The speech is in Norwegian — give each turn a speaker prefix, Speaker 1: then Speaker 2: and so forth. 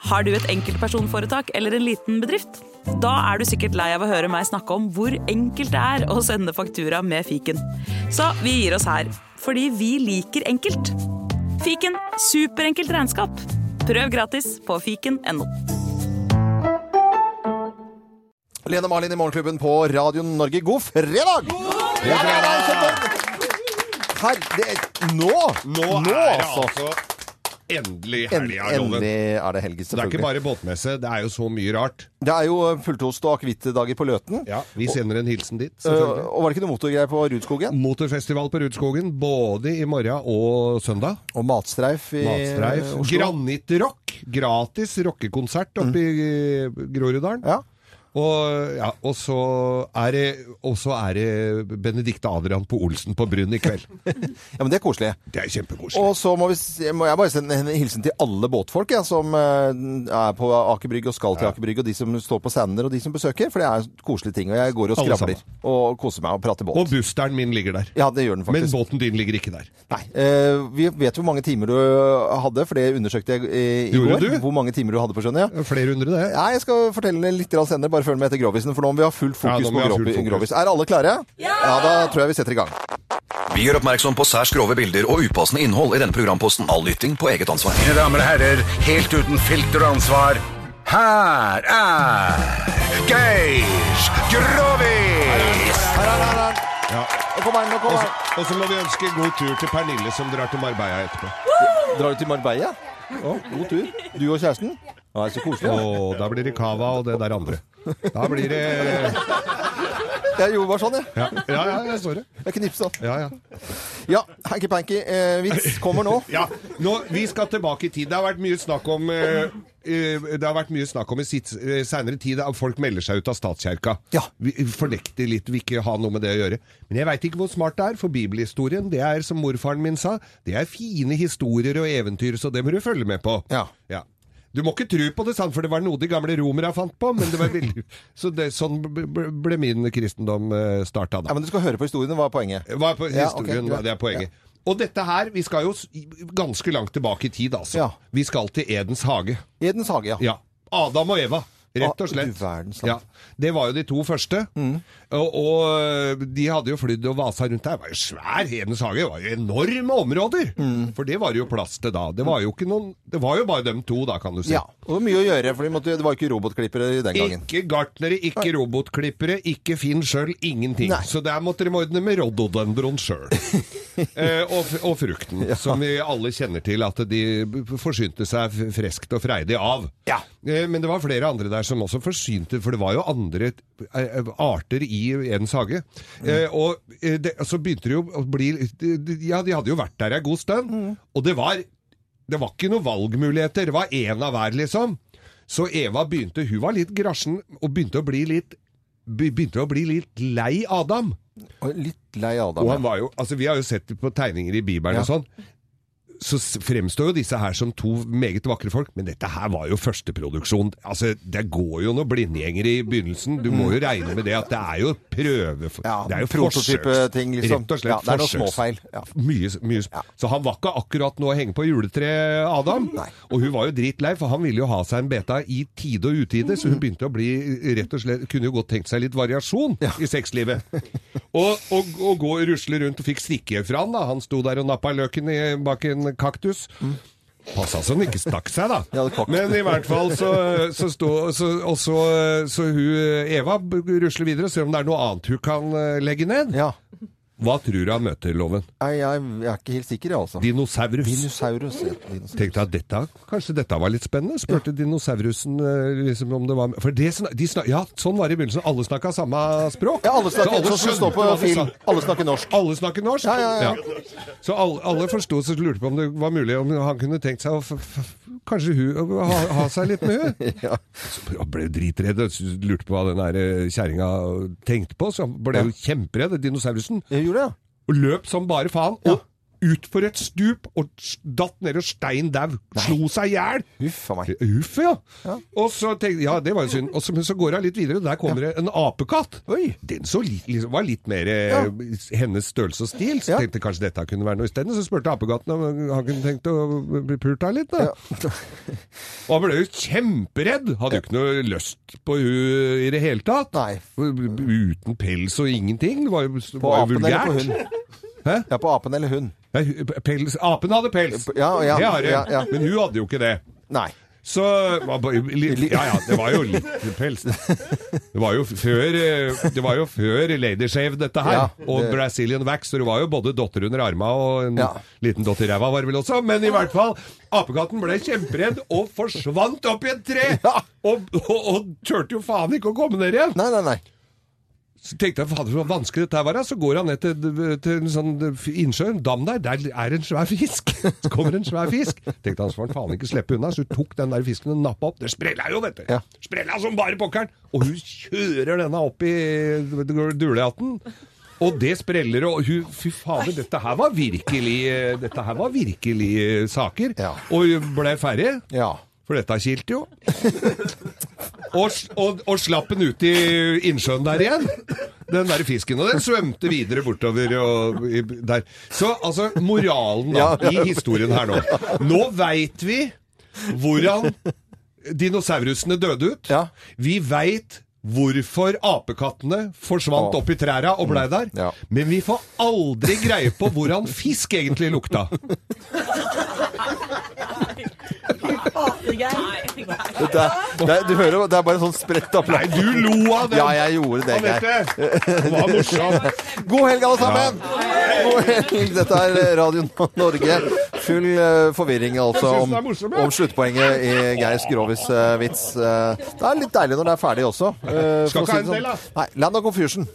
Speaker 1: Har du et enkeltpersonforetak eller en liten bedrift? Da er du sikkert lei av å høre meg snakke om hvor enkelt det er å sende faktura med fiken. Så vi gir oss her, fordi vi liker enkelt. Fiken superenkelt regnskap. Prøv gratis på fiken.no.
Speaker 2: Lene Marlin i Morgenklubben på Radio Norge. God fredag! God fredag! Herre, nå!
Speaker 3: Nå, er det altså endelig
Speaker 2: En-
Speaker 3: helga, Loven.
Speaker 2: Endelig er det helg,
Speaker 3: Det er ikke
Speaker 2: selvfølgelig.
Speaker 3: bare båtmesse, det er jo så mye rart.
Speaker 2: Det er jo fulltost og akevittdager på Løten.
Speaker 3: Ja, Vi sender en hilsen dit.
Speaker 2: Øh,
Speaker 3: selvfølgelig.
Speaker 2: Og var det ikke noe motorgreier på Rudskogen?
Speaker 3: Eh, Motorfestival på Rudskogen både i morgen og søndag.
Speaker 2: Og matstreif i
Speaker 3: Matstreif.
Speaker 2: Oslo.
Speaker 3: Granittrock. Gratis rockekonsert oppe i Groruddalen.
Speaker 2: Ja.
Speaker 3: Og, ja, og, så er det, og så er det Benedicte Adrian på Olsen på Bryn i kveld.
Speaker 2: ja, men det er koselig.
Speaker 3: Det er kjempekoselig.
Speaker 2: Og så må, vi, s- må jeg bare sende en hilsen til alle båtfolk ja, som eh, er på Aker Brygge og skal til Aker Brygge, og de som står på Sander, og de som besøker. For det er koselige ting. Og jeg går og
Speaker 3: Alle
Speaker 2: skravler
Speaker 3: sammen.
Speaker 2: og koser meg og prater båt.
Speaker 3: Og busteren min ligger der.
Speaker 2: ja, det gjør den
Speaker 3: Men
Speaker 2: faktisk.
Speaker 3: båten din ligger ikke der.
Speaker 2: Nei. Eh, vi vet jo hvor mange timer du eh, hadde, for det undersøkte jeg i, i
Speaker 3: Gjorde
Speaker 2: går.
Speaker 3: du?
Speaker 2: Hvor mange timer du hadde på skjønnet, ja.
Speaker 3: Flere hundre, det.
Speaker 2: Nei, jeg skal fortelle det litt grann senere. Bare følg med etter Grovisen, for nå må vi ha fullt
Speaker 3: Ja,
Speaker 2: fokus
Speaker 3: nå må
Speaker 2: på
Speaker 3: vi ha fullt
Speaker 2: grovi-
Speaker 3: fokus.
Speaker 2: Grovis. Er alle klare? Ja! ja! Da tror jeg vi setter i gang.
Speaker 4: Vi gjør oppmerksom på særs grove bilder og upassende innhold i denne programposten. All lytting på eget ansvar.
Speaker 5: Mine damer og herrer, helt uten filter og ansvar, her er Geir Grovis!
Speaker 2: Her, her, her, her.
Speaker 3: Ja.
Speaker 2: Og Kom her, nå,
Speaker 3: Og
Speaker 2: kom
Speaker 3: så-
Speaker 2: her.
Speaker 3: Og så må vi ønske god tur til Pernille, som drar til Marbella etterpå.
Speaker 2: Drar du til Marbella? Å, god tur. Du og kjæresten? Ja, så koselig. da.
Speaker 3: Og da blir det cava og det der andre. Da blir det
Speaker 2: Jeg gjorde bare sånn, jeg.
Speaker 3: Ja, ja, ja jeg så det.
Speaker 2: Jeg knipsa.
Speaker 3: Ja, ja.
Speaker 2: Ja, hanky-panky. Eh, vits kommer nå.
Speaker 3: ja. Nå, vi skal tilbake i tid. Det har vært mye snakk om eh, eh, det har vært mye snakk om i sitt, eh, senere tid at folk melder seg ut av statskirka.
Speaker 2: Ja.
Speaker 3: Vi fornekter litt, vil ikke ha noe med det å gjøre. Men jeg veit ikke hvor smart det er, for bibelhistorien, det er som morfaren min sa, det er fine historier og eventyr, så det må du følge med på.
Speaker 2: Ja.
Speaker 3: Du må ikke tro på det, sant? for det var noe de gamle romerne fant på. Men det var veldig... Så det, sånn b- b- ble min kristendom eh, starta. da.
Speaker 2: Ja, men Du skal høre på historiene, var poenget.
Speaker 3: Hva er po-
Speaker 2: Ja, ok,
Speaker 3: historien,
Speaker 2: greit.
Speaker 3: det er poenget. Og dette her, vi skal jo s- ganske langt tilbake i tid, altså.
Speaker 2: Ja.
Speaker 3: Vi skal til Edens hage.
Speaker 2: Edens hage, ja.
Speaker 3: Ja. Adam og Eva. Rett
Speaker 2: Ah,
Speaker 3: og
Speaker 2: du
Speaker 3: slett.
Speaker 2: Mm. verdens land.
Speaker 3: ja, det var jo de to første. Og, og de hadde jo flydd og vasa rundt der. Det var jo svær Edens hage. Det var jo enorme områder.
Speaker 2: Mm.
Speaker 3: For det var det jo plass til da. Det var jo ikke noen Det var jo bare dem to, da, kan du si.
Speaker 2: Ja, og det var mye å gjøre, for de måtte, det var ikke robotklippere den gangen.
Speaker 3: Ikke gartnere, ikke robotklippere, ikke Finn sjøl, ingenting.
Speaker 2: Nei.
Speaker 3: Så der måtte de ordne med rhododendron sjøl. eh, og, f- og frukten, som vi alle kjenner til at de b- forsynte seg f- freskt og freidig av.
Speaker 2: Ja.
Speaker 3: Eh, men det var flere andre der som også forsynte, for det var jo andre t- eh, arter i Edens hage. Eh, og eh, det, så begynte det jo å bli de, de, Ja, de hadde jo vært der ei god stund, og det var det var ikke noen valgmuligheter, det var én av hver, liksom. Så Eva begynte, hun var litt grasjen, og begynte å bli litt, be- begynte å bli litt lei Adam.
Speaker 2: Og litt lei Adam.
Speaker 3: Og
Speaker 2: ja.
Speaker 3: han var jo, altså Vi har jo sett det på tegninger i Bibelen og
Speaker 2: Ja.
Speaker 3: sånn. Så s- fremstår jo disse her som to meget vakre folk, men dette her var jo førsteproduksjon. Altså, Det går jo noen blindgjengere i begynnelsen. Du må jo regne med det at det er jo prøve...
Speaker 2: Mm. Ja,
Speaker 3: det er jo forsøks-
Speaker 2: prototype-ting, liksom.
Speaker 3: Rett og slett
Speaker 2: ja, det er noen
Speaker 3: forsøks-
Speaker 2: småfeil. Ja.
Speaker 3: mye, mye. Så han var ikke akkurat nå å henge på juletreet, Adam. Og hun var jo dritlei, for han ville jo ha seg en beta i tide og utide, så hun
Speaker 2: Mm.
Speaker 3: begynte å bli rett og slett Kunne jo godt tenkt seg litt variasjon i sexlivet. Og, og, og gå og rusle rundt og fikk stikke fra han, da. Han sto der og nappa løken i, bak en kaktus. Passa så den ikke stakk seg, da.
Speaker 2: Mm. Ja, det kokte.
Speaker 3: Men i hvert fall så, så sto så, Og så, så hun Eva b- rusler videre og ser om det er noe annet hun kan eh, legge ned.
Speaker 2: ja.
Speaker 3: Hva tror du han møter, Loven?
Speaker 2: Nei, jeg, jeg er ikke helt sikker, jeg, altså.
Speaker 3: Dinosaurus.
Speaker 2: Dinosaurus. ja, dinosaurus.
Speaker 3: Tenkte jeg at dette, kanskje dette var litt spennende? Spurte dinosaurusen eh, liksom om det var For det snak, de snak, Ja, sånn var det i begynnelsen. Alle snakka samme språk.
Speaker 2: Ja, alle
Speaker 3: Så
Speaker 2: snakker, sånn som det står
Speaker 3: skjønte
Speaker 2: på
Speaker 3: hva de sa.
Speaker 2: film. Alle snakker norsk.
Speaker 3: Alle snakker norsk?
Speaker 2: Ja, ja, ja.
Speaker 3: Så alle, alle forsto så lurte på om det var mulig om han kunne tenkt seg å f f Kanskje hun å ha, ha seg litt med hun?
Speaker 2: Ja.
Speaker 3: Så han ble dritredd og syntes- lurte på hva den der, eh, kjerringa tenkte på. Så han ble jo kjemperedd, dinosaurusen.
Speaker 2: Jeg gjorde det, ja.
Speaker 3: Og løp som bare faen. Og utfor et stup og s- datt ned og stein dau. Slo seg i hjel.
Speaker 2: Huff a meg.
Speaker 3: Uff, ja. Og så tenkte Ja, det var jo synd. Og så, men så går hun litt videre, og der kommer det en apekatt.
Speaker 2: Oi.
Speaker 3: Den så li, liksom, var litt mer eh,
Speaker 2: Ja.
Speaker 3: hennes størrelse og stil, så
Speaker 2: Ja.
Speaker 3: tenkte jeg kanskje dette kunne være noe isteden. Så spurte apekatten om han kunne tenkt å bli pult av litt, da. Og han ble jo kjemperedd. Hadde jo ikke noe lyst på hun i det hele tatt.
Speaker 2: Nei.
Speaker 3: Uten pels og ingenting. Det var jo,
Speaker 2: På
Speaker 3: var jo
Speaker 2: apen eller på
Speaker 3: vulgært.
Speaker 2: hund?
Speaker 3: Hæ?
Speaker 2: Ja, på apen eller hund.
Speaker 3: Nei, hu- pels. Apen hadde pels.
Speaker 2: Ja, ja,
Speaker 3: det har hun.
Speaker 2: ja, ja.
Speaker 3: Men hun hadde jo ikke det.
Speaker 2: Nei.
Speaker 3: Så var bare litt- Ja ja, det var jo litt pels. Det var jo før, eh, det var jo før Ladyshave, dette her.
Speaker 2: Ja,
Speaker 3: Og
Speaker 2: det-
Speaker 3: Brazilian Wax. Så det var jo både dotter under arma og en
Speaker 2: Ja.
Speaker 3: liten dott i ræva, var det vel også. Men i hvert fall, apekatten ble kjemperedd og forsvant opp i et tre!
Speaker 2: Ja.
Speaker 3: Og, og, og turte jo faen ikke å komme ned igjen!
Speaker 2: Nei, nei, nei.
Speaker 3: Så tenkte jeg, fader, så vanskelig dette her var. ja. Så går han ned til, til en sånn innsjø, en dam der. Der er en svær fisk! Så kommer en svær fisk! Tenkte han, så får han faen ikke slippe unna. Så hun tok den der fisken og nappa opp. Det sprella jo, vet du!
Speaker 2: Ja.
Speaker 3: Sprella som bare pokkeren! Og hun kjører denne opp i eh, dulehatten. Og det spreller, og hun Fy fader, dette her var virkelig eh, Dette her var virkelig eh, saker.
Speaker 2: Ja.
Speaker 3: Og hun ble ferdig.
Speaker 2: Ja.
Speaker 3: For dette kilte jo. Og, og, og slapp den ut i innsjøen der igjen, den der fisken. Og den svømte videre bortover og i- der. Så altså, moralen da,
Speaker 2: Ja, ja.
Speaker 3: i historien her nå Nå veit vi hvordan dinosaurusene døde ut.
Speaker 2: Ja.
Speaker 3: Vi veit hvorfor apekattene forsvant
Speaker 2: Å.
Speaker 3: opp i træra og blei der.
Speaker 2: Mm. Ja.
Speaker 3: Men vi får aldri greie på hvordan fisk egentlig lukta.
Speaker 2: Dette, er- det, er- du hører, jo, det er bare sånn spredt opp
Speaker 3: Nei, du lo av den!
Speaker 2: Ja, jeg gjorde det, Geir.
Speaker 3: Anette! Det var morsomt.
Speaker 2: God helg, alle sammen! God helg. Dette er Radio Norge. Full eh, forvirring altså
Speaker 3: Jeg synes
Speaker 2: om,
Speaker 3: det er morsomt, ja.
Speaker 2: om sluttpoenget i Geir Grovis eh, vits. Eh, det er litt deilig når det er ferdig også. eh,
Speaker 3: Skal
Speaker 2: for å
Speaker 3: ikke ha en
Speaker 2: det
Speaker 3: del,
Speaker 2: sånn. Nei, Land of Confusion.